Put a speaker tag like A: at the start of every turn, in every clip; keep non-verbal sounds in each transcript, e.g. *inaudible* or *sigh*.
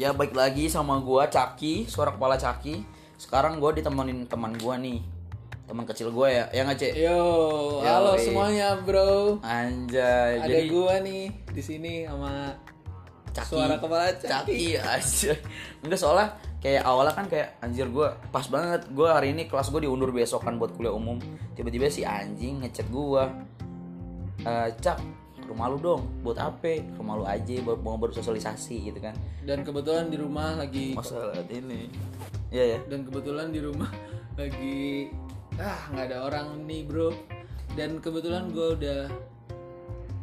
A: Ya baik lagi sama gua Caki, suara kepala Caki. Sekarang gua ditemenin teman gua nih. Teman kecil gua ya. Ya nggak, Cek?
B: Yo, halo
A: eh.
B: semuanya, bro.
A: Anjay.
B: Ada
A: Eh, jadi
B: gua nih di sini sama
A: Caki.
B: suara kepala Caki.
A: Caki anjir. Enggak soalnya kayak awalnya kan kayak anjir gua pas banget gua hari ini kelas gua diundur besok kan buat kuliah umum. Tiba-tiba si anjing ngechat gua. Eh, Cak, rumah lu dong. Buat apa? Rumah lu aja buat mau bersosialisasi gitu kan.
B: Dan kebetulan di rumah lagi
A: Masalah ini. Iya ya.
B: dan kebetulan di rumah *laughs* lagi ah nggak ada orang nih, bro. Dan kebetulan gua udah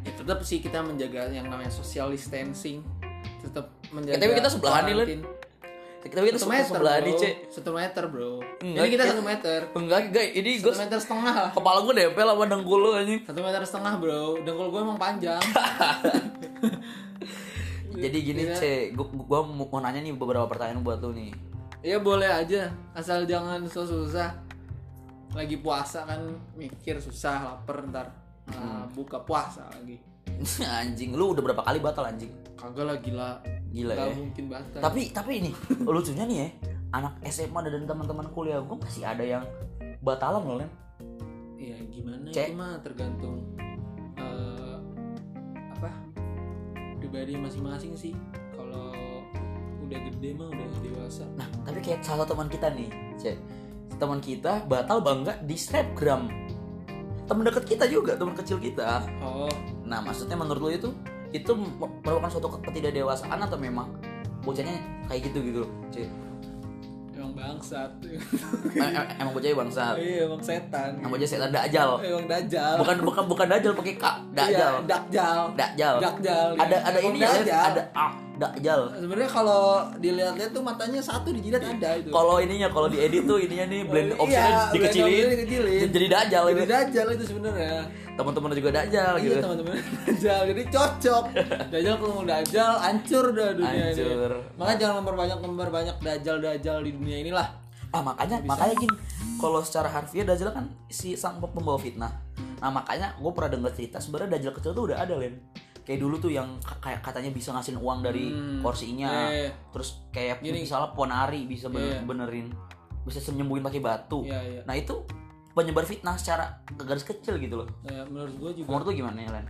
B: ya tetap sih kita menjaga yang namanya social distancing. Tetap
A: Eh,
B: menjaga.
A: tapi kita sebelahan nih, Len.
B: karantin.
A: Tapi kita
B: Satu
A: sebelah
B: meter,
A: sebelah nih,
B: bro.
A: Cek.
B: Satu meter, bro.
A: Enggak,
B: Ini kita
A: kita-
B: satu meter.
A: Enggak, guys, ini gue
B: Satu meter setengah lah.
A: kepala gue nempel sama dengkul lu anjing.
B: Satu meter setengah bro, dengkul gue emang panjang.
A: *laughs* Jadi gini,
B: Iya.
A: Ce, gue gua mau mau nanya nih beberapa pertanyaan buat lu nih. *laughs*
B: Iya boleh aja, asal jangan susah-susah. Lagi puasa kan mikir susah, lapar ntar Nah,
A: Hmm.
B: buka puasa lagi.
A: anjing, lu udah berapa kali batal anjing?
B: Kagak lah gila,
A: Gila
B: Gak
A: ya.
B: mungkin batal.
A: Tapi tapi ini lucunya nih ya, anak SMA dan teman-teman kuliah gue masih ada yang batalan loh, Len.
B: Iya gimana
A: Cek.
B: itu mah tergantung eh, apa pribadi masing-masing sih. Kalau udah gede mah udah dewasa.
A: Nah, tapi kayak salah satu teman kita nih, Ce. Teman kita batal bangga di Snapgram. Temen deket kita juga, teman kecil kita.
B: Oh,
A: Nah, maksudnya menurut lo itu itu me- merupakan suatu ke- ketidakdewasaan atau memang bocahnya kayak gitu gitu? Ci?
B: emang bangsat.
A: Em- em- Eh, emang bocahnya bangsa,
B: *laughs* Iya emang setan.
A: emang bocahnya setan dajal.
B: Emang dajal.
A: Bukan bukan bukan dajal pakai kak, dajal.
B: Iya, dakjal.
A: Dajal.
B: Dakjal.
A: Ada ada
B: Emang
A: ini ya, Lev?
B: Dajjal.
A: ada ah, dajal.
B: Sebenarnya kalau dilihat-lihat tuh matanya satu di jidat ada itu.
A: Kalau ininya kalau diedit tuh ininya nih blend
B: Iya,
A: optionnya
B: blend
A: dikecilin,
B: optionnya dikecilin.
A: jadi dajal
B: Jadi
A: gitu.
B: dajal itu sebenarnya.
A: Teman-teman juga dajal
B: Iya
A: gitu.
B: teman-teman *laughs* dajal jadi cocok. Dajal kalau dajal hancur dah dunia
A: Hancur.
B: ini. Makanya jangan memperbanyak memperbanyak dajal-dajal di dunia inilah.
A: Ah makanya makanya gini, kalau secara harfiah dajal kan si sang pem- pembawa fitnah. Nah makanya gue pernah dengar cerita sebenarnya dajal kecil tuh udah ada Len. Kayak dulu tuh yang ka- kayak katanya bisa ngasihin uang dari
B: Hmm.
A: kursinya.
B: Iya, iya.
A: Terus kayak
B: Gini.
A: misalnya ponari bisa bener-
B: Iya.
A: benerin bisa nyembuhin pakai batu.
B: Iya iya.
A: Nah itu penyebar fitnah secara ke garis kecil gitu loh.
B: Ya, menurut gue juga
A: Menurut tuh gimana ya, Len?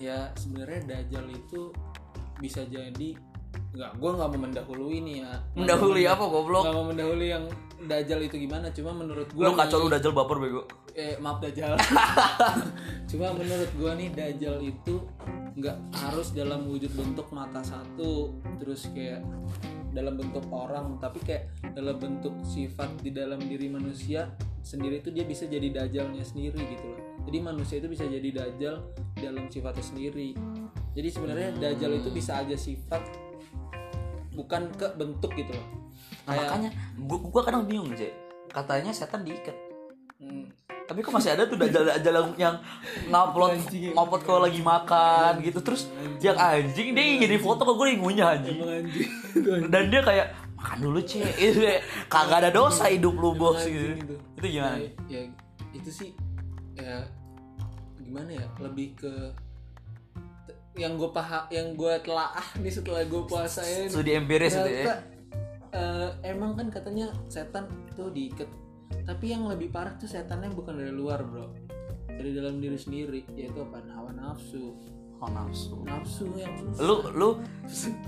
B: ya sebenarnya dajal itu bisa jadi nggak gue nggak mau mendahului nih ya
A: Mendahului apa goblok?
B: nggak mau mendahului yang dajal itu gimana cuma menurut gue
A: Lu kacau lu dajal baper bego.
B: eh maaf *laughs* dajal cuma menurut gue nih dajal itu nggak harus dalam wujud bentuk mata satu terus kayak dalam bentuk orang tapi kayak dalam bentuk sifat di dalam diri manusia sendiri itu dia bisa jadi dajalnya sendiri gitu loh jadi manusia itu bisa jadi dajal dalam sifatnya sendiri jadi sebenarnya dajal itu bisa aja sifat bukan ke bentuk gitu loh
A: Nah, makanya gua, gua kadang bingung, Cek. Katanya setan diikat.
B: Hmm.
A: tapi kok masih ada tuh dajal-dajal yang- yang ngupload
B: Anjing.
A: ngupload kalau lagi makan gitu terus yang anjing dia jadi foto kok gue yang ngunyah anjing
B: emang anjing *laughs* itu anjing.
A: dan dia kayak makan dulu *laughs* cek Itu kayak, kagak ada dosa hidup lu bos
B: anjing
A: gitu
B: itu.
A: itu gimana
B: ya, ya, itu sih ya gimana ya lebih ke te- yang gue paham yang gue telaah nih setelah gue puasa ini
A: studi empiris itu ya
B: ternyata, eh, emang kan katanya setan tuh diikat tapi yang lebih parah tuh setannya bukan dari luar bro dari dalam diri sendiri yaitu apa hawa nafsu
A: oh, nafsu
B: nafsu yang susah.
A: lu lu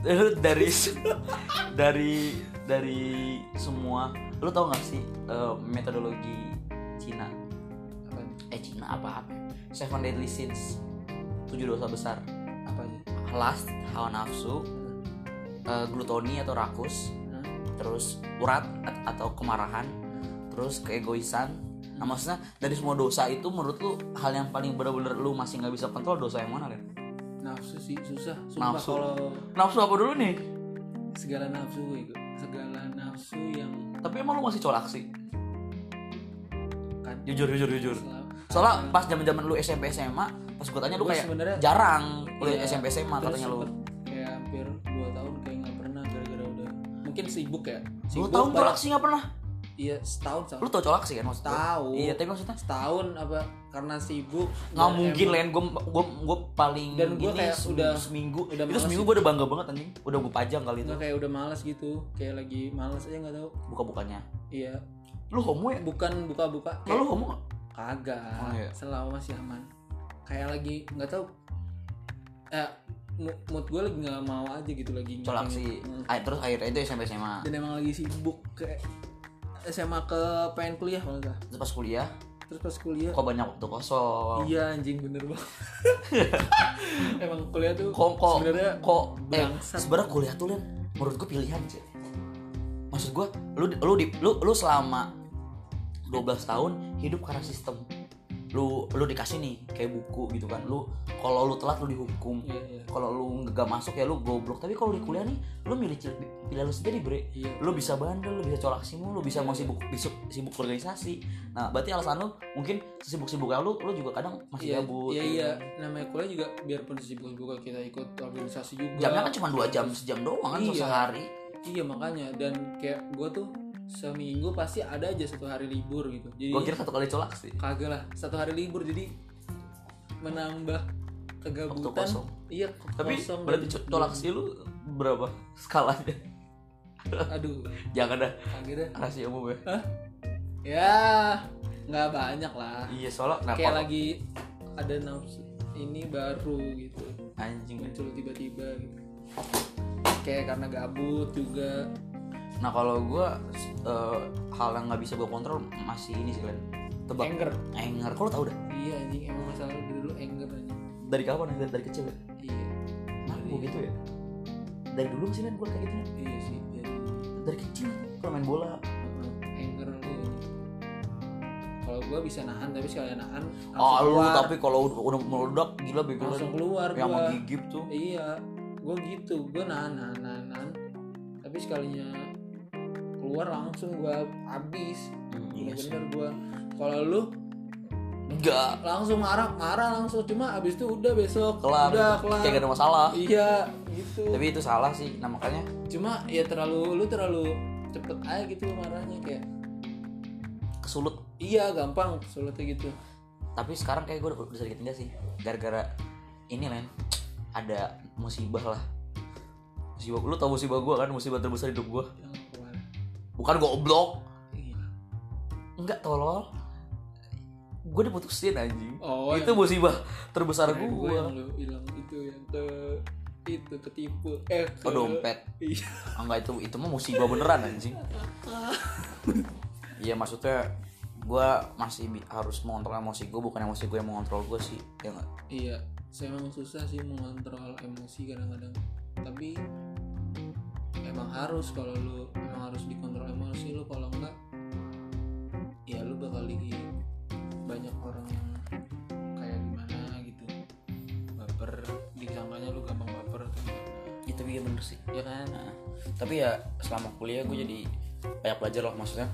A: lu dari *laughs* dari dari semua lu tau gak sih eh, metodologi Cina
B: apa
A: eh Cina apa apa Seven Deadly Sins tujuh dosa besar
B: apa aja
A: lust hawa nafsu eh, glutoni atau rakus
B: Hah?
A: terus urat at- atau kemarahan terus keegoisan nah maksudnya dari semua dosa itu menurut lu hal yang paling bener-bener lu masih nggak bisa kontrol dosa yang mana Ren?
B: nafsu sih susah sumpah
A: Nafsu.
B: kalau
A: nafsu apa dulu nih
B: segala nafsu itu segala nafsu yang
A: tapi emang lu masih colak sih
B: kan
A: jujur jujur jujur
B: selama-
A: soalnya pas zaman zaman lu SMP SMA pas gue tanya lu
B: Gua
A: kayak
B: sebenarnya-
A: jarang lu
B: Iya.
A: Oh, SMP SMA
B: Terus
A: katanya lu
B: sempet kayak hampir 2 tahun kayak nggak pernah gara-gara udah mungkin sibuk ya
A: dua
B: sibuk
A: tahun
B: pada-
A: colak sih nggak pernah
B: iya setahun
A: Lu
B: setahun
A: tau colak sih kan maksud gua?
B: Tahu.
A: Iya, tapi maksudnya
B: setahun apa karena sibuk
A: nggak
B: dan
A: mungkin
B: emang
A: lain gue gue gue paling
B: Dan gua
A: ini
B: kayak
A: se-
B: udah-
A: seminggu
B: udah
A: itu
B: males Iya.
A: seminggu gue udah bangga banget anjing udah gue pajang kali itu
B: nggak kayak udah malas gitu kayak lagi malas aja nggak tahu
A: buka bukanya
B: iya
A: lu homo ya
B: bukan buka-buka
A: Nah, lu homo nggak?
B: kagak
A: Oh, iya.
B: selama masih aman kayak lagi nggak tahu eh mu- mood gue lagi nggak mau aja gitu lagi
A: colak
B: ngapain.
A: sih
B: Hmm.
A: Ay, terus akhirnya itu SMP SMA
B: dan emang lagi sibuk ke SMA ke pengen kuliah kalau nggak salah.
A: terus pas kuliah
B: terus pas kuliah
A: kok banyak waktu kosong
B: iya anjing bener
A: *laughs*
B: banget emang kuliah tuh
A: kok kok
B: sebenarnya
A: kok eh
B: bangsat.
A: sebenarnya kuliah tuh Len, menurut gue pilihan sih maksud gue lu lu di- lu lu selama 12 tahun hidup karena sistem lu lu dikasih nih kayak buku gitu kan lu kalau lu telat lu dihukum
B: iya iya
A: kalau lu nggak masuk ya lu goblok tapi kalau di kuliah nih lu milih cil- pilihan lu sendiri bre
B: iya
A: lu bisa bandel lu bisa colak simu lu bisa mau sibuk sibuk sibuk organisasi nah berarti alasan lu mungkin sibuk sibuknya lu lu juga kadang masih
B: Iya,
A: gabut
B: iya,
A: gitu.
B: iya. namanya kuliah juga biarpun sibuk-sibuk kita ikut organisasi juga.
A: jamnya kan cuma dua jam sejam doang kan
B: Iya.
A: sehari
B: Iya makanya dan kayak gue tuh seminggu pasti ada aja satu hari libur gitu. Jadi
A: gua kira satu kali colak sih
B: kagak lah satu hari libur jadi menambah
A: waktu
B: kegabutan.
A: kosong
B: Iya
A: tapi
B: kosong
A: berarti
B: dan- iya.
A: co- colak sih lu berapa *laughs* skalanya
B: Aduh
A: jangan dah
B: kagak dah.
A: rahasia umum ya
B: Ya nggak banyak lah.
A: iya soalnya
B: Kayak
A: kenapa
B: lagi ada nafsu ini baru gitu
A: anjing
B: muncul tiba-tiba gitu. Kayak karena gabut juga.
A: nah kalau gua eh, hal yang nggak bisa gua kontrol masih ini sih Len tebak
B: Anger.
A: Anger, kok lo tau dah?
B: Iya anjing emang masalah lu dulu anger anjing.
A: Dari kapan? Dari, dari kecil ya?
B: Iya.
A: Nah, gue gitu ya? Dari dulu sih kan gue kayak gitu
B: Iya sih jadi
A: Dari kecil, kalau main bola
B: anger lu anjing. Kalau gua bisa nahan tapi sekali nahan
A: Ah lu
B: langsung keluar.
A: tapi kalau udah- udah meledak gila bego lu.
B: langsung keluar
A: Yang
B: gua.
A: menggigip tuh
B: Iya. Gua gitu, gua nahan nahan nahan, nahan. Tapi sekalinya keluar langsung gua habis.
A: Hmm, iya sih.
B: Bener-bener gua. Kalau lu
A: Enggak,
B: langsung marah marah langsung cuma abis itu udah besok
A: kelar gitu.
B: udah kelar
A: Kayak gak ada masalah
B: iya gitu
A: Tapi itu salah sih, nah makanya
B: cuma ya terlalu lu terlalu cepet aja gitu marahnya kayak
A: kesulut
B: iya gampang sulitnya gitu
A: Tapi sekarang kayak gue udah, udah sedikit enggak sih Gara-gara ini men Ada musibah lah Musibah, lu tau musibah gue kan, musibah terbesar hidup gue
B: yang keluar
A: Bukan goblok
B: Iya.
A: Enggak tolol Gue diputusin anjing
B: oh
A: itu musibah terbesar
B: yang- gua yang
A: gue
B: lu bilang itu yang ke itu ketipu eh ke
A: oh dompet
B: iya
A: Ah, enggak itu itu mah musibah beneran anjing iya maksudnya gue masih bi- harus mengontrol emosi gue bukan emosi gue yang mengontrol gue sih ya nggak?
B: iya saya emang susah sih mengontrol emosi kadang-kadang tapi emang harus kalau lu emang harus dikontrol emosi lu kalau enggak ya lu bakal di banyak orang yang kayak gimana gitu baper disangkanya lu gampang baper atau gimana
A: itu dia bener sih
B: ya kan
A: Nah, tapi ya selama kuliah gue jadi banyak belajar loh maksudnya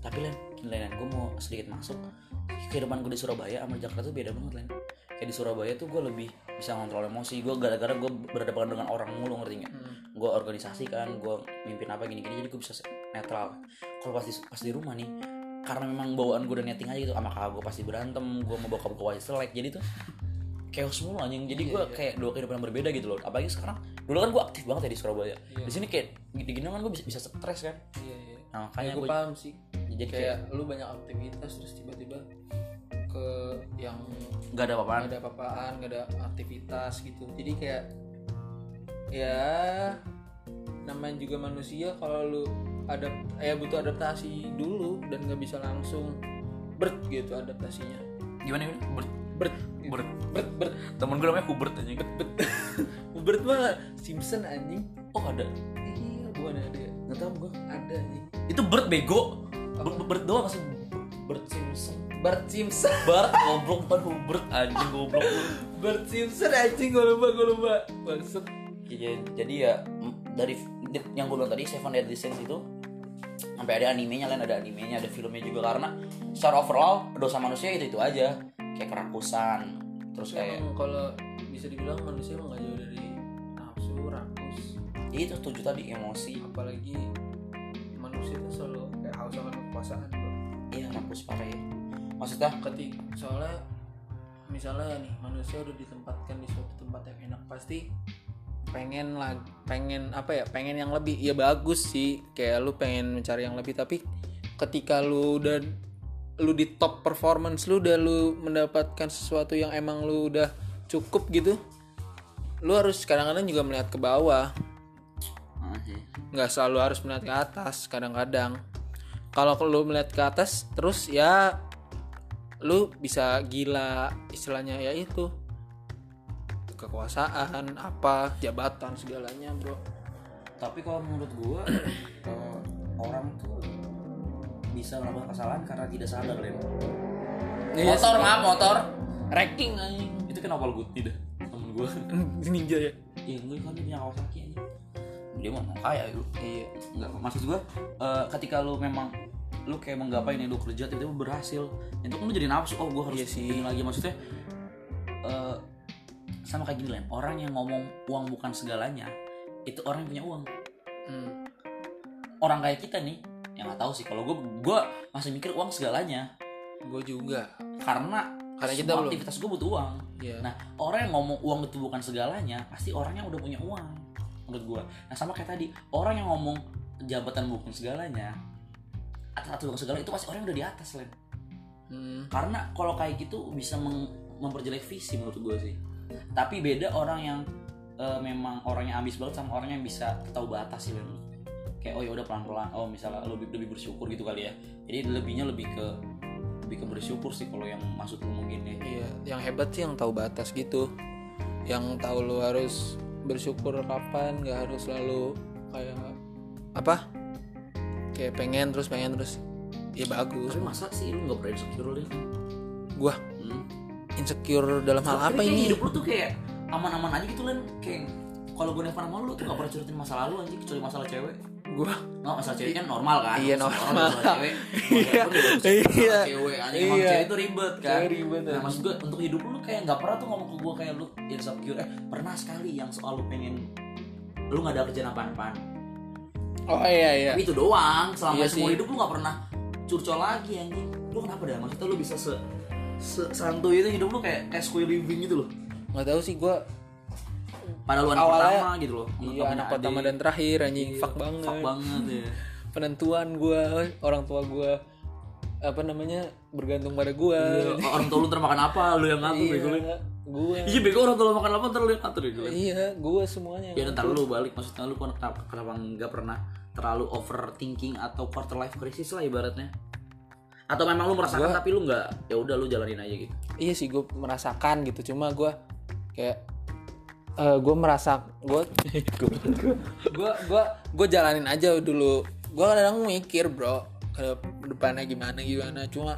A: tapi len lain gue mau sedikit masuk kehidupan gue di Surabaya sama di Jakarta tuh beda banget len kayak di Surabaya tuh gue lebih bisa ngontrol emosi gue gara-gara gue berhadapan dengan orang mulu ngerti nggak
B: Hmm.
A: gue organisasi kan gue mimpin apa gini-gini jadi gue bisa se- netral kalau pas di, pas di rumah nih karena memang bawaan gue udah netting aja gitu sama kakak gue pasti berantem gue mau bokap gue aja selek jadi tuh chaos mulu anjing jadi
B: Iya,
A: gue
B: iya.
A: kayak dua kehidupan yang berbeda gitu loh apalagi sekarang dulu kan gue aktif banget ya di Surabaya
B: Iya.
A: di sini kayak di gini kan gue bisa bisa stres kan
B: iya iya
A: nah makanya
B: kayak gue
A: gue
B: paham sih
A: jadi kayak
B: kayak lu banyak aktivitas terus tiba-tiba ke yang
A: nggak ada apa-apaan
B: nggak ada apa-apaan nggak ada aktivitas gitu jadi kayak ya namanya juga manusia kalau lu ada eh butuh adaptasi dulu dan nggak bisa langsung bert gitu adaptasinya
A: gimana gimana Bert,
B: bert gitu.
A: Bert.
B: bert bert
A: temen gue namanya Hubert anjing
B: bert *laughs* bert mah Simpson anjing
A: oh ada
B: iya bukan ada
A: nggak tahu gue
B: ada anjing
A: itu Bert bego Bert, Bert doang masih Bert Simpson
B: Bert Simpson *laughs*
A: Bart goblok bukan Hubert anjing goblok lu.
B: Bert Simpson anjing gue lupa gue lupa maksud
A: *laughs* Iya, jadi ya mm, dari di- yang gue bilang tadi Seven Deadly Sins itu sampai ada animenya lain ada animenya ada filmnya juga karena secara overall dosa manusia itu itu aja kayak kerakusan terus kayak
B: Emang kalau bisa dibilang manusia emang gak jauh dari nafsu, rakus,
A: ya itu tujuh tadi emosi
B: apalagi manusia itu selalu kayak haus akan kekuasaan perkosaan bro
A: iya mampus parah ya maksudnya
B: ketik soalnya misalnya nih manusia udah ditempatkan di suatu tempat yang enak pasti pengen lah pengen apa ya pengen yang lebih ya bagus sih kayak lu pengen mencari yang lebih tapi ketika lu udah lu di top performance lu udah lu mendapatkan sesuatu yang emang lu udah cukup gitu lu harus kadang-kadang juga melihat ke bawah
A: ah,
B: iya.
A: sih.
B: nggak selalu harus melihat ke atas kadang-kadang kalau lu melihat ke atas terus ya lu bisa gila istilahnya ya itu kekuasaan apa jabatan segalanya bro
A: tapi kalau menurut gua *clears throat* eh, orang tuh bisa melakukan kesalahan karena tidak sadar Ren.
B: Iya, motor maaf motor
A: Ranking anjing. Itu kenapa lu guti dah temen
B: *laughs*
A: gua.
B: *laughs* ninja ya
A: Iya, gue kan dia punya Kawasaki anjing. Dia mah orang kaya lu.
B: iya
A: Enggak, maksud gua eh, ketika lu memang lu kayak menggapai nih lu kerja tiba-tiba berhasil. Itu kan lu jadi nafsu, oh gua harus
B: Iya sih.
A: ini lagi maksudnya eh, sama kayak gini Len. orang yang ngomong uang bukan segalanya itu orang yang punya uang
B: hmm.
A: orang kayak kita nih yang nggak tahu sih kalau gue gue masih mikir uang segalanya
B: gue juga
A: karena
B: Karena kita
A: semua
B: belum.
A: aktivitas gue butuh uang
B: Iya.
A: nah orang yang ngomong uang itu bukan segalanya pasti orang yang udah punya uang menurut gue nah sama kayak tadi orang yang ngomong jabatan bukan segalanya atas atas bukan segala itu pasti orang yang udah di atas Len.
B: Hmm.
A: karena kalau kayak gitu bisa meng- memperjelek visi menurut gue sih tapi beda orang yang eh, memang orangnya ambis banget sama orang yang bisa tahu batas sih menurut gue. kayak oh ya udah pelan pelan oh misalnya lebih lebih bersyukur gitu kali ya jadi lebihnya lebih ke lebih ke bersyukur sih kalau yang maksud lu mungkin ya
B: Iya, yang hebat sih yang tahu batas gitu. Yang tahu lu harus bersyukur kapan, nggak harus selalu kayak apa? Kayak pengen terus pengen terus. Ya bagus.
A: tapi masa sih lu nggak pernah insecure Lin?
B: Gua
A: hmm.
B: insecure dalam hal
A: Tapi
B: apa
A: kayak
B: ini?
A: hidup lu tuh kayak aman aman aja gitu Len kayak kalau gue nelfon sama lu tuh gak pernah ceritain masa lalu anjing kecuali masalah cewek
B: Gua
A: Nggak, masalah cewek kan normal kan?
B: Iya,
A: Masalah
B: normal.
A: orang, Masalah
B: *laughs*
A: cewek.
B: Iya, iya.
A: Masalah Cewek anjing emang
B: Iya.
A: cewek itu ribet kan.
B: Cewek ribet, ya.
A: Nah,
B: anjing.
A: maksud gue untuk hidup lu kayak nggak pernah tuh ngomong ke gue kayak lu insecure. Eh, pernah sekali yang soal lu pengen lu nggak ada kerjaan apaan-apaan.
B: Oh iya iya.
A: Tapi itu doang. Selama
B: Iya
A: semua
B: sih.
A: hidup lu nggak pernah curcol lagi anjing. Lu kenapa dah? Maksudnya lu bisa se se- santuy itu hidup lu kayak kayak square living gitu loh.
B: Nggak tahu sih gua
A: Padahal lu anak
B: Awalnya-
A: pertama gitu loh. Menurut
B: iya
A: kamu
B: anak
A: adik.
B: pertama dan terakhir anjing fuck banget.
A: Fuck banget
B: *laughs*
A: ya.
B: Penentuan gua, orang tua gua apa namanya bergantung pada gua.
A: Iya, Orang tua lu ntar makan apa, lu yang ngatur bego lu.
B: Iya, gua.
A: Iya bego orang tua makan apa ntar lu yang ngatur ya gue.
B: Iya, gua semuanya.
A: Ya ntar lu balik maksudnya lu kok kenapa, kenapa nggak pernah terlalu overthinking atau quarter life crisis lah ibaratnya. Atau memang lu merasakan tapi lu nggak ya udah lu jalanin aja gitu.
B: iya sih gue merasakan gitu cuma gue kayak eh gue merasa gue gue gue gue jalanin aja dulu gue kadang mikir bro ke depannya gimana gimana cuma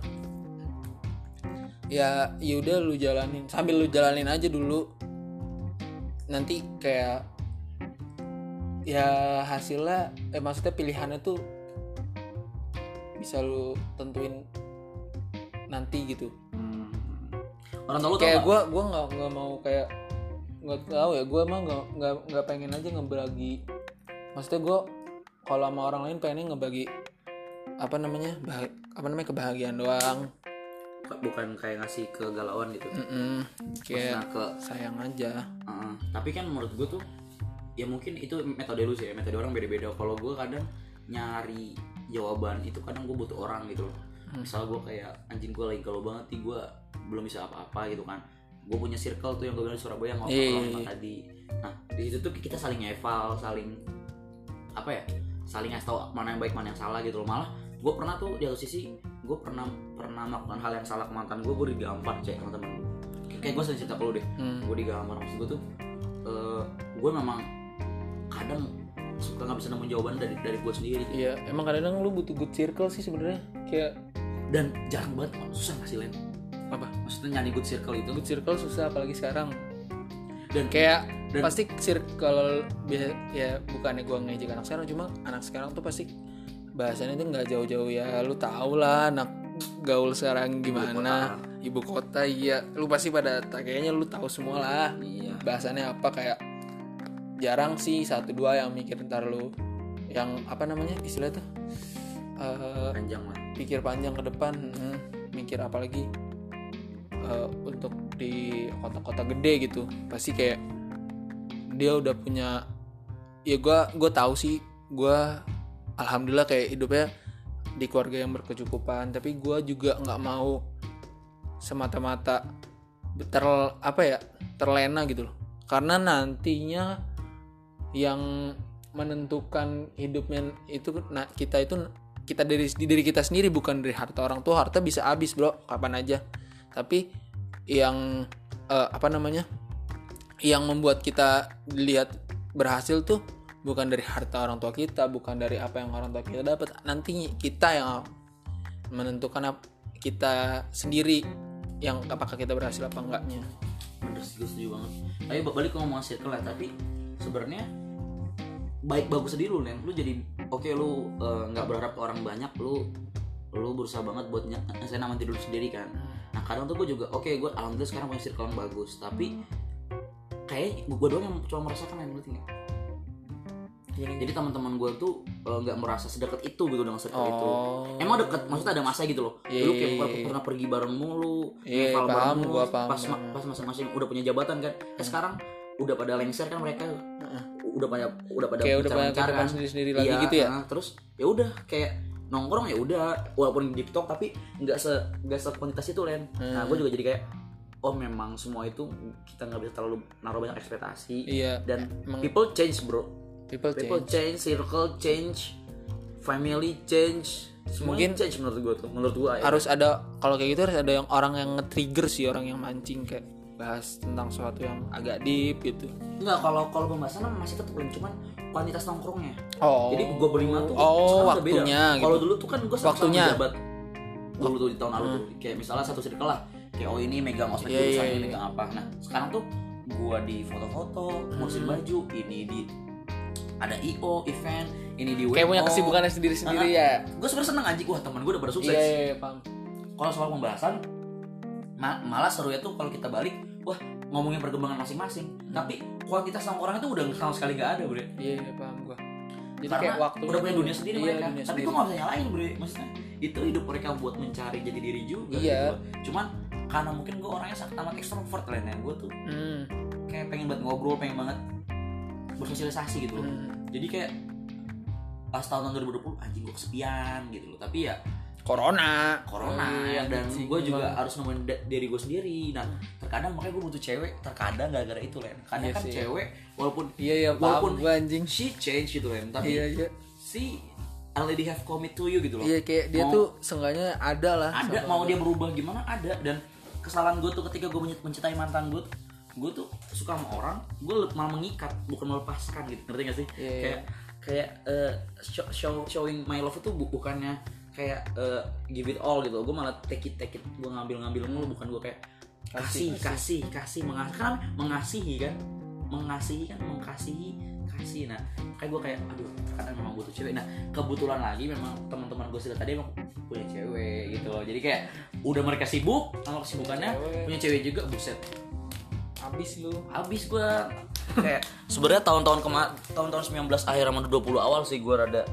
B: ya ya udah lu jalanin sambil lu jalanin aja dulu nanti kayak ya hasilnya eh maksudnya pilihannya tuh bisa lu tentuin nanti gitu
A: Orang tua lu tau
B: kayak
A: nggak?
B: gue gua nggak nggak mau kayak nggak tahu ya gue emang nggak nggak nggak pengen aja ngebagi maksudnya gue kalau sama orang lain pengennya ngebagi apa namanya bahag- apa namanya kebahagiaan doang
A: bukan kayak ngasih kegalauan gitu.
B: Mm-mm.
A: Nah
B: kayak
A: ke
B: sayang aja
A: Heeh. tapi kan menurut gue tuh ya mungkin itu metode lu sih ya metode orang beda-beda kalau gue kadang nyari jawaban itu kadang gue butuh orang gitu loh
B: Hmm.
A: misal gue kayak anjing gue lagi galau banget nih gue belum bisa apa-apa gitu kan gue punya circle tuh yang gue bilang di Surabaya yang
B: Iya, iya,
A: ngobrol
B: iya.
A: tadi nah di situ tuh kita saling eval saling apa ya saling ngasih tau mana yang baik mana yang salah gitu loh malah gue pernah tuh di satu sisi gue pernah pernah melakukan hal yang salah ke mantan gue gue digampar cek teman-teman kayak gue sering cerita ke lu deh
B: Hmm.
A: gue di gambar maksud gue tuh gue memang kadang suka nggak bisa nemu jawaban dari dari gue sendiri
B: iya emang kadang lu butuh good circle sih sebenarnya kayak
A: dan jarang banget susah ngasih lain
B: apa
A: maksudnya nyari good circle itu
B: good circle susah apalagi sekarang
A: dan
B: kayak
A: Dan-
B: pasti circle biasa ya bukannya gua ngejek anak sekarang cuma anak sekarang tuh pasti bahasanya tuh nggak jauh-jauh ya lu tau lah anak gaul sekarang gimana ibu kota, iya lu pasti pada kayaknya lu tahu semua lah
A: iya
B: bahasanya apa kayak jarang sih satu dua yang mikir ntar lu yang apa namanya istilah tuh eh,
A: panjang lah
B: pikir panjang ke depan hmm, mikir apalagi eh, untuk di kota-kota gede gitu pasti kayak dia udah punya ya gue gue tahu sih gue alhamdulillah kayak hidupnya di keluarga yang berkecukupan tapi gue juga nggak mau semata-mata ter apa ya terlena gitu loh karena nantinya yang menentukan hidupnya itu nah kita itu kita dari diri kita sendiri bukan dari harta orang tua harta bisa habis bro kapan aja tapi yang eh, apa namanya yang membuat kita dilihat berhasil tuh bukan dari harta orang tua kita bukan dari apa yang orang tua kita dapat nanti kita yang menentukan ap- kita sendiri yang apakah kita berhasil apa enggaknya
A: bener sih gue setuju banget tapi ba- balik ke ngomong circle ya tapi sebenarnya baik bagus diri lu neng lu jadi oke lu eh, nggak berharap ke orang banyak lu lu berusaha banget buat ny- nyesain nama tidur sendiri kan nah kadang tuh gue juga oke gue alhamdulillah sekarang punya circle yang bagus tapi kayak gue doang yang cuma merasakan yang ngerti nggak
B: Gimana?
A: jadi teman-teman gue tuh eh, nggak merasa sedekat itu gitu dengan circle itu
B: oh
A: emang deket maksudnya ada masa gitu loh
B: Iya,
A: lu
B: iya,
A: kayak
B: iya,
A: pernah,
B: iya.
A: pernah pergi bareng mulu
B: Iya,
A: ngepal
B: paham,
A: bareng mulu,
B: gua paham, Hmm.
A: pas ma-
B: paham.
A: pas masing-masing udah punya jabatan kan eh sekarang udah pada lengser kan mereka udah pada udah pada
B: kayak udah banyak
A: mencar-mencar
B: kehidupan sendiri sendiri lagi
A: Iya,
B: gitu ya
A: nah, terus ya udah kayak nongkrong ya udah walaupun di TikTok tapi nggak se nggak sekuantitas itu len nah
B: Hmm.
A: gue juga jadi kayak oh memang semua itu kita nggak bisa terlalu naruh banyak ekspektasi
B: iya
A: dan
B: emang
A: people change bro
B: people
A: People change,
B: change
A: circle change, family change, semuanya
B: Mungkin-
A: change menurut gue tuh, menurut gue ya.
B: harus ada kalau kayak gitu harus ada yang orang yang nge-trigger sih orang yang mancing kayak bahas tentang sesuatu yang agak deep gitu
A: Enggak, kalau kalau pembahasan mah masih tetap cuman kuantitas nongkrongnya.
B: oh
A: Jadi gue berlima tuh
B: oh
A: sekarang udah beda.
B: waktunya
A: Kalau
B: gitu
A: dulu tuh kan gue sama
B: Waktunya. Hmm.
A: jabat dulu tuh di tahun lalu tuh kayak misalnya satu circle lah kayak oh ini megang ospek
B: Iya,
A: jurusan,
B: iya,
A: ini
B: iya.
A: megang apa nah sekarang tuh gue di foto-foto ngurusin
B: Hmm.
A: baju ini di ada io event ini di
B: kayak punya kesibukannya sendiri sendiri
A: Nah,
B: ya
A: gue sebenarnya seneng anjing wah teman gue udah pada sukses
B: iya iya iya, paham
A: kalau soal pembahasan ma- malah serunya tuh kalau kita balik wah ngomongin perkembangan masing-masing
B: Hmm.
A: tapi kuantitas sama orang itu udah sama sekali nggak ada bre
B: iya iya, paham gua jadi
A: karena
B: kayak waktu
A: udah punya dunia sendiri
B: iya,
A: mereka
B: dunia
A: tapi
B: sendiri.
A: gue nggak bisa nyalain bre maksudnya itu hidup mereka buat mencari jadi diri juga
B: Iya.
A: gitu loh. cuman karena mungkin gue orangnya sangat amat ekstrovert lah ya gue tuh
B: Hmm,
A: kayak pengen banget ngobrol pengen banget bersosialisasi gitu loh
B: hmm.
A: jadi kayak pas tahun 2020 anjing gue kesepian gitu loh tapi ya
B: corona
A: corona
B: Iya,
A: dan
B: anjing,
A: gue juga
B: emang.
A: harus nemuin da- diri gue sendiri nah terkadang makanya gue butuh cewek terkadang gara-gara itu Len karena
B: Iya
A: kan
B: sih.
A: cewek walaupun
B: iya iya paham
A: Walaupun-
B: gua anjing
A: she change gitu Len tapi
B: iya iya
A: si already have commit to you gitu loh
B: iya kayak dia
A: Mau-
B: tuh seenggaknya ada lah
A: ada
B: sama-
A: mau dia berubah gimana ada dan kesalahan gue tuh ketika gue mencintai mantan gue gue tuh suka sama orang gue malah mengikat bukan melepaskan gitu ngerti gak sih
B: Iya, iya.
A: kayak kayak eh, show, show- showing my love itu bu- bukannya kayak eh, give it all gitu gue malah take it take it gue ngambil ngambil mulu bukan gue kayak kasih
B: Kasih,
A: kasih kasih mengasihi kan mengasihi kan mengasihi kan mengkasihi kasih nah kayak gue kayak aduh kadang memang butuh cewek nah kebetulan lagi memang teman-teman gue sudah tadi emang punya cewek gitu loh jadi kayak udah mereka sibuk sama kesibukannya
B: Cewek.
A: punya cewek juga buset
B: habis lu
A: habis gue kayak sebenarnya tahun-tahun kema tahun-tahun 19 akhir sama 20 awal sih gue rada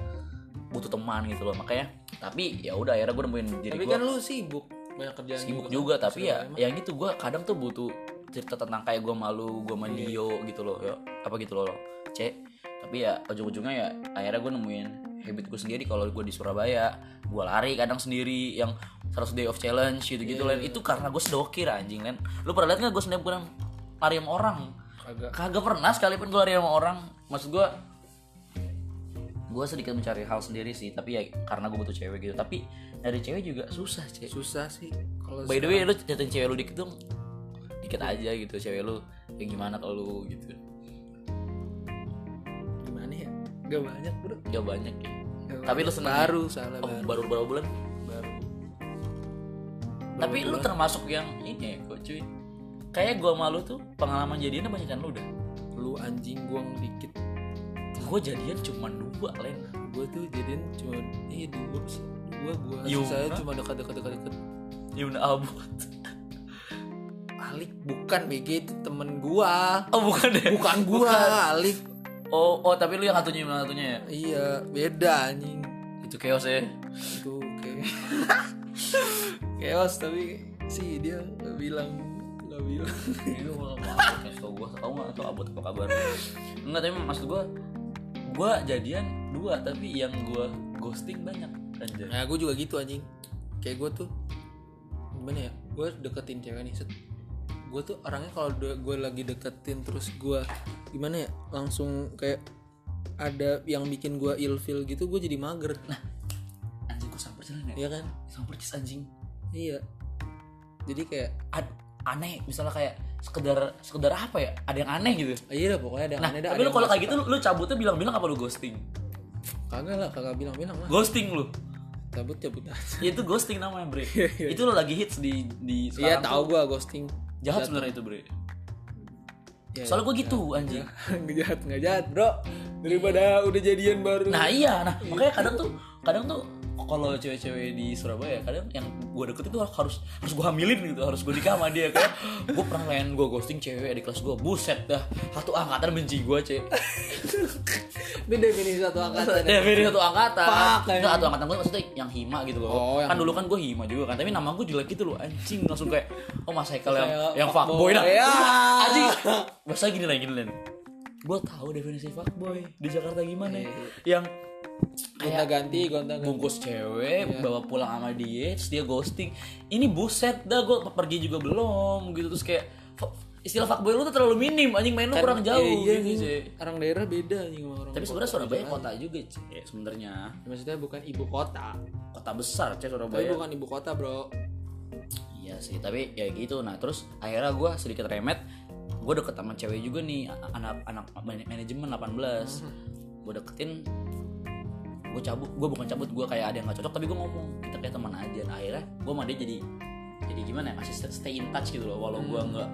A: butuh teman gitu loh makanya tapi ya udah akhirnya gue nemuin diri
B: tapi
A: gue
B: kan lu sibuk banyak kerjaan
A: sibuk juga tapi ya yang itu gue kadang tuh butuh cerita tentang kayak gue malu gue
B: Iya.
A: mandio gitu loh ya apa gitu loh c tapi ya ujung-ujungnya ya akhirnya gue nemuin habit gue sendiri kalau gue di Surabaya gue lari kadang sendiri yang 100 day of challenge gitu gitu
B: Iya,
A: Len. itu karena gue sedokir anjing len lu pernah liat nggak gue snap kurang lari sama orang
B: Kagak.
A: kagak pernah sekalipun gue lari sama orang maksud gue gue sedikit mencari hal sendiri sih tapi ya karena gue butuh cewek gitu tapi dari cewek juga susah cek
B: susah sih kalau
A: By the way lu nyatain cewek lu dikit dong Dikit aja gitu cewek lu Kayak gimana kalau lu gitu
B: gimana ya gak banyak bro
A: Ya banyak ya
B: Gak
A: Tapi lu
B: banyak.
A: seneng
B: baru salah
A: Oh
B: baru
A: baru berapa bulan
B: baru
A: Tapi lu termasuk yang ini ya kok cuy Kayak gua malu tuh pengalaman jadiannya banyak kan lu dah
B: lu anjing gua dikit
A: Gua jadian cuma dua lain
B: gua tuh jadian cuma iya dua sih. dua gua
A: Yuna.
B: saya cuma dekat dekat dekat dekat
A: Yuna Abud *laughs*
B: Alik bukan BG itu temen gua
A: Oh bukan deh
B: bukan gua Alik
A: Oh, oh tapi lu yang satunya Yuna satunya ya
B: iya beda anjing
A: Itu chaos ya
B: itu kayak *laughs* chaos tapi sih dia nggak bilang nggak bilang
A: Iya, gua nggak mau abot, kasih tau gue tau nggak atau abot apa kabar enggak tapi maksud gue gue jadian dua tapi yang gue ghosting banyak anjay
B: nah gue juga gitu anjing kayak gue tuh gimana ya gue deketin cewek nih set gue tuh orangnya kalau gue lagi deketin terus gue gimana ya langsung kayak ada yang bikin gue ilfil gitu gue jadi mager nah
A: anjing gue samper jalan ya
B: iya kan
A: samper cis anjing
B: iya jadi kayak
A: Ad- aneh misalnya kayak sekedar sekedar apa ya ada yang aneh gitu
B: iya dah pokoknya ada yang
A: nah
B: aneh dah,
A: tapi
B: ada
A: lu
B: yang
A: kalau kayak
B: masuk.
A: gitu lu, lu cabutnya bilang-bilang apa lu ghosting
B: kagak lah kagak bilang bilang lah
A: ghosting lu
B: cabut cabut aja
A: Ya, itu ghosting namanya bre itu lu lagi hits di di
B: iya
A: sekarang
B: tahu gue ghosting *laughs*
A: jahat sebenarnya itu bre
B: Ya,
A: soalnya gue gitu anjing
B: nggak jahat nggak jahat bro daripada udah jadian baru
A: Nah iya, nah makanya kadang tuh, kadang tuh kalau cewek-cewek di Surabaya ya, kadang yang gue deket itu harus harus gue hamilin gitu harus gue nikah sama dia kayak gue pernah lain gue ghosting cewek di kelas gue buset dah satu angkatan benci gue cewek
B: *laughs* ini definisi satu
A: *laughs*
B: angkatan
A: ya
B: ya.
A: beda satu angkatan
B: Fuck,
A: Nggak,
B: anjing.
A: satu angkatan gue maksudnya yang hima gitu loh
B: Oh, yang-
A: kan dulu kan gue hima juga kan tapi nama gue jelek gitu loh anjing langsung kayak oh mas Haikal yang
B: Kayak
A: yang fuckboy
B: fuckboy.
A: lah
B: Ya.
A: anjing bahasa gini lah gini lah gue tahu definisi fuckboy di Jakarta gimana
B: Iya,
A: yang Iya.
B: gonta ganti gonta ganti
A: bungkus cewek
B: Iya.
A: bawa pulang sama dia terus dia ghosting ini buset dah gue pergi juga belum gitu terus kayak fu- istilah fuckboy lu tuh terlalu minim anjing main lu
B: Kan,
A: kurang jauh
B: iya, iya,
A: gitu
B: iya.
A: sih
B: orang daerah beda nih sama
A: tapi
B: orang kota.
A: sebenarnya Surabaya kota juga cek sebenarnya
B: Ya, maksudnya bukan ibu kota
A: kota besar cek
B: tapi
A: Surabaya
B: bukan ibu kota bro
A: iya sih tapi ya gitu nah terus akhirnya gue sedikit remet gue deket sama cewek juga nih a- anak anak man- manajemen 18 gue deketin gue cabut gue bukan cabut gue kayak ada yang gak cocok tapi gue ngomong kita kayak teman aja nah, akhirnya gue sama dia jadi jadi gimana ya masih stay- stay in touch gitu loh walau gue nggak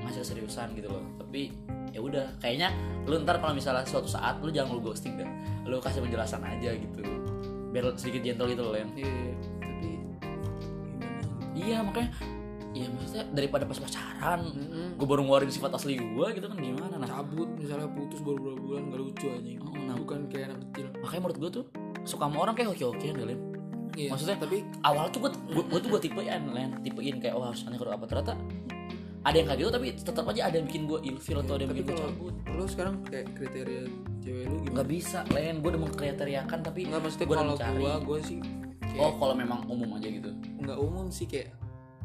A: masih seriusan gitu loh tapi ya udah kayaknya lu ntar kalau misalnya suatu saat lu jangan lu ghosting deh lu kasih penjelasan aja gitu biar sedikit gentle gitu loh yang
B: Iya, iya. tapi gimana
A: Iya makanya Iya maksudnya daripada pas pacaran Gue baru ngeluarin sifat asli gue gitu kan gimana Nah
B: cabut misalnya putus baru berapa bulan gak lucu anjing
A: Oh, nah.
B: bukan kayak anak kecil
A: makanya menurut gue tuh Suka sama orang kayak hoki-hokian kali
B: Iya,
A: Maksudnya
B: tapi
A: awal tuh gue tuh gue tipein Len tipein kayak oh harus aneh kalau apa ternyata ada yang kayak gitu tapi tetap aja ada yang bikin gue ilfil atau ada yang
B: tapi
A: bikin gue
B: kalau
A: cabut
B: lo sekarang kayak kriteria cewek lu gimana
A: nggak bisa Len gue udah mengkriteriakan tapi
B: nggak maksudnya
A: gua udah
B: kalau
A: mencari.
B: gua gua sih kayak
A: oh kalau memang umum aja gitu
B: nggak umum sih kayak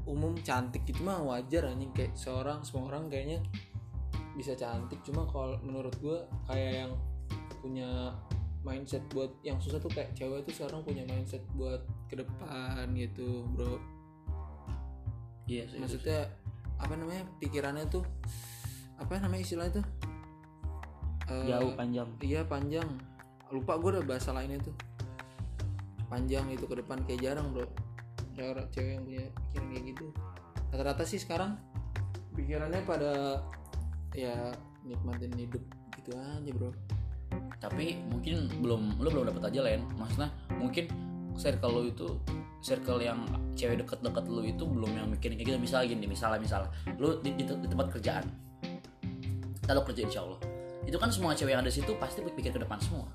B: umum cantik gitu mah wajar anjing kayak seorang semua orang kayaknya bisa cantik cuma kalau menurut gue kayak yang punya mindset buat yang susah tuh kayak cewek tuh sekarang punya mindset buat ke depan gitu bro
A: iya
B: maksudnya apa namanya pikirannya tuh apa namanya istilahnya tuh Eh,
A: jauh panjang
B: iya panjang lupa gue udah bahasa lainnya tuh panjang itu ke depan kayak jarang bro ada orang cewek yang punya pikiran kayak gitu rata-rata sih sekarang pikirannya pada ya nikmatin hidup gitu aja bro
A: tapi mungkin belum lu belum dapat aja lain maksudnya mungkin circle lu itu circle yang cewek deket-deket lu itu belum yang mikirin kayak gitu misalnya gini misalnya misalnya lu di, di- di tempat kerjaan kita lu kerja insya Allah itu kan semua cewek yang ada di situ pasti pikir ke depan semua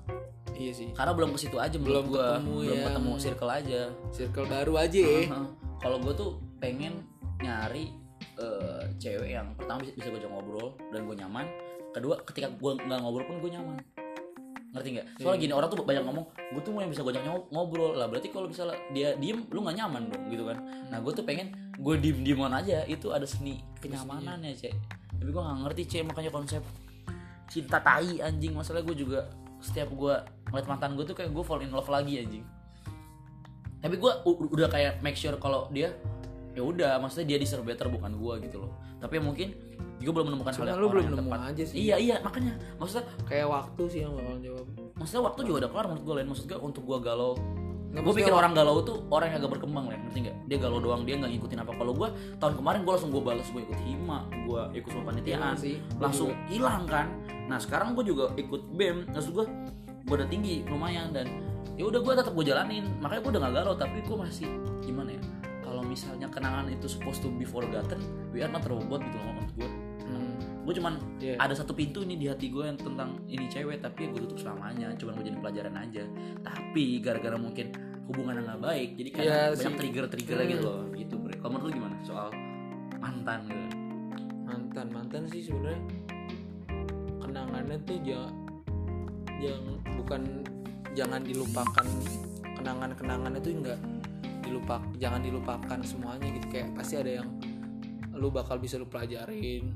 B: iya sih
A: karena belum ke situ aja menurut
B: Belum
A: gua
B: ketemu iya.
A: belum
B: yang-
A: ketemu circle aja
B: circle baru aja ya
A: Heeh. kalau gue tuh pengen nyari eh, cewek yang pertama bisa, bisa gue ngobrol dan gue nyaman kedua ketika gue nggak ngobrol pun gue nyaman ngerti nggak soalnya gini orang tuh banyak ngomong gue tuh mau yang bisa gue ngobrol lah berarti kalau misalnya dia diem lu nggak nyaman dong gitu kan nah gue tuh pengen gue diem dieman aja itu ada seni kenyamanan ya cek tapi gue nggak ngerti cek makanya konsep cinta tai anjing masalah gue juga setiap gue ngeliat mantan gue tuh kayak gue fall in love lagi anjing tapi gue udah kayak make sure kalau dia ya udah maksudnya dia deserve better bukan gue gitu loh tapi mungkin gue belum menemukan
B: Cuma
A: hal
B: lu
A: orang
B: belum
A: yang
B: nemu
A: tepat.
B: aja sih.
A: iya iya makanya maksudnya
B: kayak waktu sih yang bakal jawab
A: maksudnya waktu juga udah kelar menurut gue lain maksud gue untuk gue galau gue
B: Nggak, maksudnya
A: pikir orang galau tuh orang yang agak berkembang lah ngerti nggak dia galau doang dia nggak ngikutin apa kalau gue tahun kemarin gue langsung gue balas gue ikut hima gue ikut semua
B: Iya
A: panitiaan
B: sih, gua
A: langsung
C: Iya.
A: hilang kan nah sekarang gue juga ikut bem maksud gue gue udah tinggi lumayan dan ya udah gue tetap gue jalanin makanya gue udah gak galau tapi gue masih gimana ya kalau misalnya kenangan itu supposed to be forgotten we are not robot gitu loh menurut gue
B: Hmm.
A: gue cuman
B: Iya.
A: ada satu pintu nih di hati gue yang tentang ini cewek tapi gue tutup selamanya cuman gue jadi pelajaran aja tapi gara-gara mungkin hubungan yang nggak baik jadi kayak
C: Iya
A: banyak
C: sih. Hmm.
A: trigger trigger gitu loh gitu Bre. kalau menurut lu gimana soal mantan gitu
B: mantan mantan sih sebenarnya kenangannya tuh jangan jangan bukan jangan dilupakan kenangan kenangannya tuh enggak dilupak jangan dilupakan semuanya gitu kayak pasti ada yang lu bakal bisa lu pelajarin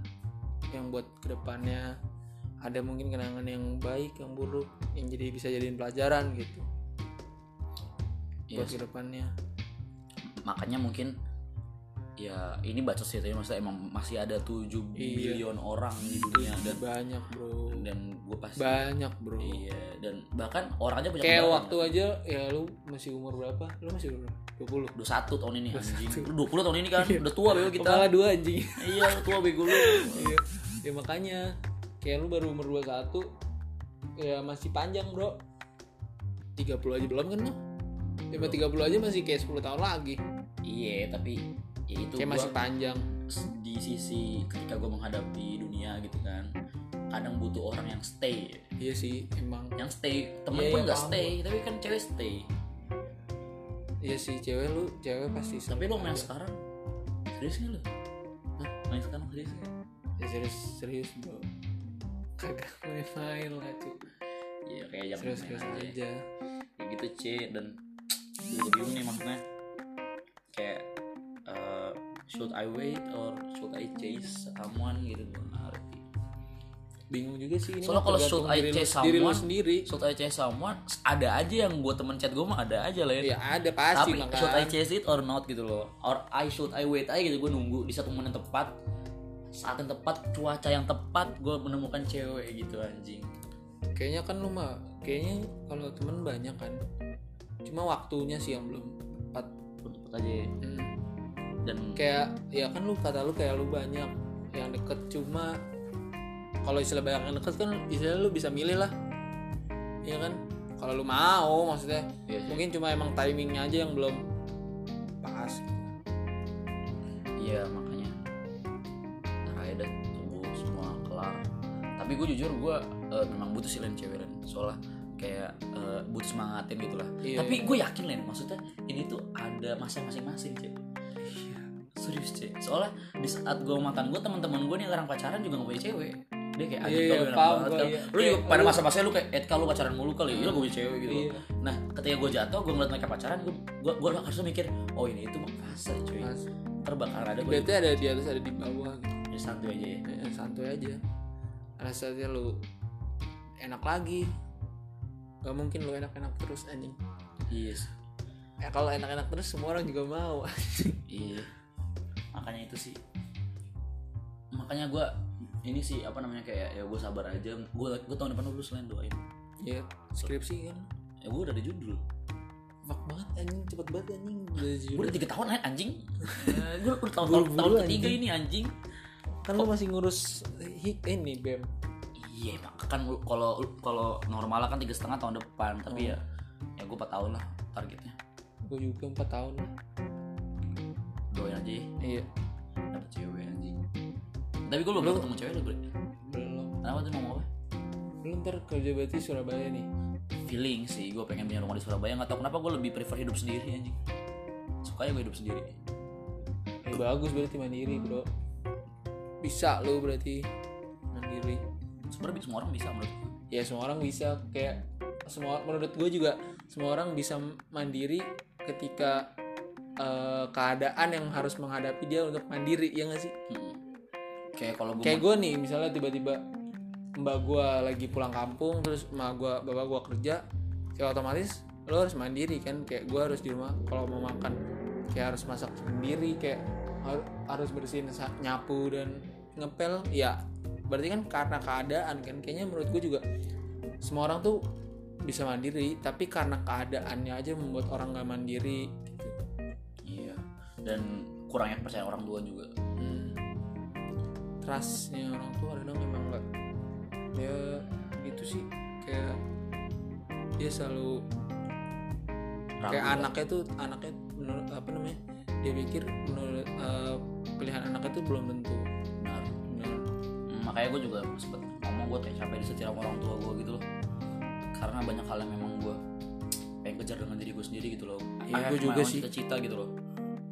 B: yang buat kedepannya ada mungkin kenangan yang baik yang buruk yang jadi bisa jadiin pelajaran gitu buat
C: Iya
A: Yes.
B: kedepannya
A: makanya mungkin ya ini bacot sih tapi maksudnya emang masih ada 7
B: Iya.
A: billion orang di dunia dan
B: banyak bro
A: dan gue pasti
B: banyak bro
A: iya dan bahkan orang aja punya
B: Kayak
A: kendaraan.
B: waktu aja ya lu masih umur berapa? Lu masih umur berapa? 20.
A: 21 tahun ini anjing. Lu 20 tahun ini kan
B: Iya.
A: udah tua bego kita.
B: Kepala dua anjing. *laughs*
A: iya, lu tua bego lu.
B: Iya. ya makanya kayak lu baru umur 21 ya masih panjang, Bro. 30 aja belum kan lu? Ya mah 30 aja masih kayak 10 tahun lagi.
A: iya, tapi ya itu
B: Kayak
A: gua
B: masih panjang.
A: di sisi ketika gue menghadapi dunia gitu kan kadang butuh orang yang stay
B: Iya sih, emang.
A: yang stay temen
B: Iya,
A: pun
B: iya,
A: nggak
B: paham
A: stay tapi kan cewek stay
B: Iya sih, cewek lu, cewek pasti.
A: tapi
B: seneng
A: lo main
B: aja.
A: sekarang serius nggak lo Hah? main sekarang serius nggak?
B: Ya, serius, serius, Bro. Kagak main-main lah, cuy.
A: Iya kayak jangan main
B: Serius-serius
A: aja.
B: aja.
A: Kayak gitu C dan gue bingung nih maksudnya kayak eh, should I wait or should I chase someone gitu gue nggak ngerti
B: Bingung juga sih ini.
A: Soalnya
B: mah
A: kalau
B: tergantung
A: should I
B: diri lu-
A: chase
B: diri lu
A: someone?
B: sendiri.
A: should I chase someone ada aja yang gue temen chat gue mah ada aja lah ya
B: Ya ada pasti
A: tapi
B: makanya.
A: should I chase it or not gitu loh or I should I wait aja gitu gue nunggu di satu momen yang tepat saat yang tepat cuaca yang tepat gue menemukan cewek gitu anjing
B: Kayaknya kan lu mah kayaknya kalau temen banyak kan. Cuma waktunya sih yang belum tepat.
A: tepat aja ya.
B: Hmm.
A: dan
B: Kayak ya kan lu kata lu kayak lu banyak yang deket cuma kalau istilah banyak yang deket kan istilah lu bisa milih lah. Iya kan? Kalau lu mau maksudnya
A: Iya sih.
B: mungkin cuma emang timingnya aja yang belum pas.
A: iya makanya nah ya udah, tunggu semua kelar tapi gue jujur gue memang butuh sih len cewek Len. soalnya kayak eh, butuh semangatin gitu lah
B: Iya,
A: tapi
B: iya.
A: gue yakin len maksudnya ini tuh ada masa masing-masing cek
B: Iya.
A: serius cek soalnya di saat gue mantan gue teman-teman gue nih yang larang pacaran juga gak punya cewek dia kayak anjing
B: Iya,
A: kalau
B: iya,
A: enak
B: paham
A: banget
B: gua,
A: kalau lu
B: iya.
A: juga
B: Kayak
A: pada
B: lu-
A: masa-masanya lu kayak Ed kalau pacaran mulu kali ya lu gak punya cewek gitu
B: Iya.
A: nah ketika gue jatuh gue ngeliat mereka pacaran gue gue gue harus mikir oh ini itu fase cuy
B: Pas.
A: terbakar ada gue
B: Berarti ada di atas ada di bawah gitu.
A: Ya santuy aja ya.
B: Ya, santuy aja karena saatnya lu enak lagi gak mungkin lu enak-enak terus anjing
A: Yes.
B: eh, kalau enak-enak terus semua orang juga mau *laughs*
A: Iya. Makanya itu sih. Makanya gua ini sih apa namanya kayak ya gue sabar aja. Gue gue tahun depan lulus lain doain.
B: ya skripsi kan
A: Ya gue udah ada judul.
B: mak banget anjing cepet banget anjing udah
A: Gue
B: judul
A: udah tiga tahun lain anjing. gue udah tahun tahun,
B: Buru-buru,
A: tahun ketiga
B: anjing.
A: ini Oh. anjing.
B: kan lu masih ngurus hik eh, ini bem
A: Iya mak kan lu- kalau lu- kalau normal kan tiga setengah tahun depan tapi ya ya gue empat tahun lah targetnya
B: gue juga empat tahun lah
A: doain aja ya
B: iya
A: dapet cewek anjing tapi gue belum ketemu cewek lu bre
B: belum
A: kenapa tuh ngomong apa
B: lu ntar kerja berarti Surabaya nih
A: feeling sih gue pengen punya rumah di Surabaya nggak tau kenapa gue lebih prefer hidup sendiri anjing suka ya gue hidup sendiri
B: eh, bagus berarti mandiri bro bisa lu berarti mandiri
A: sebenarnya semua orang bisa menurut gue
B: ya semua orang bisa kayak semua menurut gue juga semua orang bisa mandiri ketika eh, keadaan yang harus menghadapi dia untuk mandiri ya nggak sih
A: Mm-mm. kayak kalau gue
B: kayak gue nih misalnya tiba-tiba mbak gue lagi pulang kampung terus emak gue bapak gue kerja ya otomatis lo harus mandiri kan kayak gue harus di rumah kalau mau makan kayak harus masak sendiri kayak har- harus bersihin sa- nyapu dan ngepel ya berarti kan karena keadaan kan kayaknya menurut gue juga semua orang tuh bisa mandiri tapi karena keadaannya aja membuat orang gak mandiri gitu.
A: iya dan kurangnya percaya orang tua juga
B: Hmm. trustnya orang tua kadang memang nggak ya gitu sih kayak dia selalu
A: Ragu
B: kayak
A: ya.
B: anaknya tuh anaknya menurut apa namanya dia pikir menurut eh, pilihan anaknya tuh belum tentu
A: benar
B: benar
A: Mm, makanya gue juga sempet ngomong gue kayak capek disetir sama orang tua gue gitu loh karena banyak hal yang memang gue pengen kejar dengan diri gue sendiri gitu loh
B: Iya,
A: I have
B: gue juga
A: my own
B: sih.
A: cita-cita gitu loh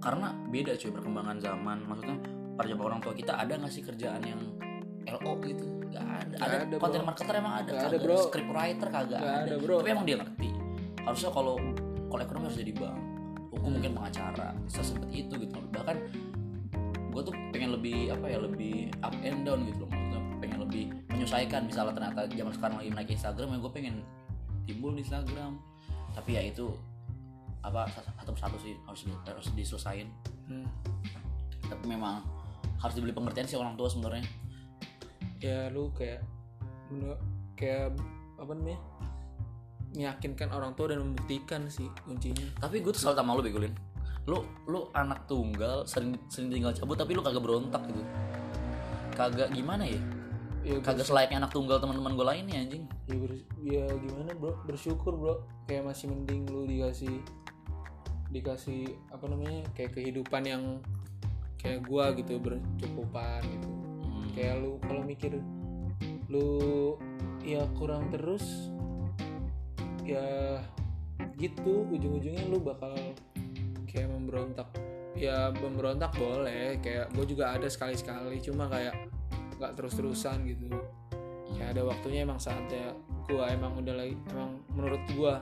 A: karena beda cuy perkembangan zaman maksudnya para jawab orang tua kita ada nggak sih kerjaan yang LO gitu nggak ada
B: Nggak
A: ada,
B: ada,
A: konten
B: bro.
A: marketer emang ada
B: Nggak ada,
A: kagak.
B: bro.
A: script writer kagak
B: Nggak
A: ada,
B: ada, bro.
A: tapi emang dia ngerti harusnya kalau kalau ekonomi harus jadi bank hukum mungkin pengacara bisa seperti itu gitu bahkan gue tuh pengen lebih apa ya lebih up and down gitu loh maksudnya pengen lebih menyesuaikan misalnya ternyata zaman sekarang lagi naik Instagram ya gue pengen timbul di Instagram tapi ya itu apa satu satu sih harus di- harus diselesain
B: Hmm.
A: tapi memang harus dibeli pengertian sih orang tua sebenarnya
B: ya lu kayak menur- kayak apa namanya meyakinkan orang tua dan membuktikan sih kuncinya
A: tapi gue tuh salut sama lu begulin lu lu anak tunggal sering sering tinggal cabut tapi lu kagak berontak gitu kagak gimana ya
B: ya gue-
A: kagak selayaknya anak tunggal teman-teman gue lainnya anjing
B: ya, bers- ya gimana bro bersyukur bro kayak masih mending lu dikasih dikasih apa namanya kayak kehidupan yang kayak gua gitu bercukupan gitu
A: Hmm.
B: kayak lu kalau mikir lu ya kurang terus ya gitu ujung-ujungnya lu bakal kayak memberontak ya memberontak boleh kayak gue juga ada sekali-sekali cuma kayak nggak terus-terusan gitu ya ada waktunya emang saatnya gua emang udah lagi emang menurut gua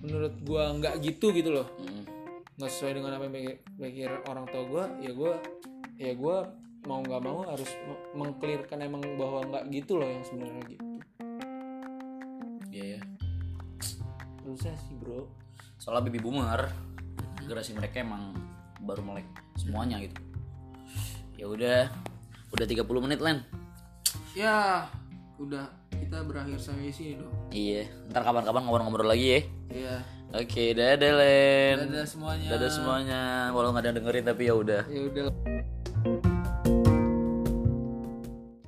B: menurut gua nggak gitu gitu loh
A: Hmm.
B: nggak sesuai dengan apa yang pikir, pikir orang tua gue ya gue ya gue mau nggak mau harus me- mengklirkan emang bahwa nggak gitu loh yang sebenarnya gitu
A: Iya ya.
B: terusnya sih bro
A: Soalnya baby boomer generasi mereka emang baru melek semuanya gitu. Ya udah, udah 30 menit Len.
B: ya udah kita berakhir sampai sini dong
A: Iya, ntar kapan-kapan ngobrol-ngobrol lagi ya.
B: ya
A: Oke, dadah Len.
B: dadah semuanya
A: Dadah semuanya. Walau nggak ada yang dengerin tapi ya udah.
B: ya udah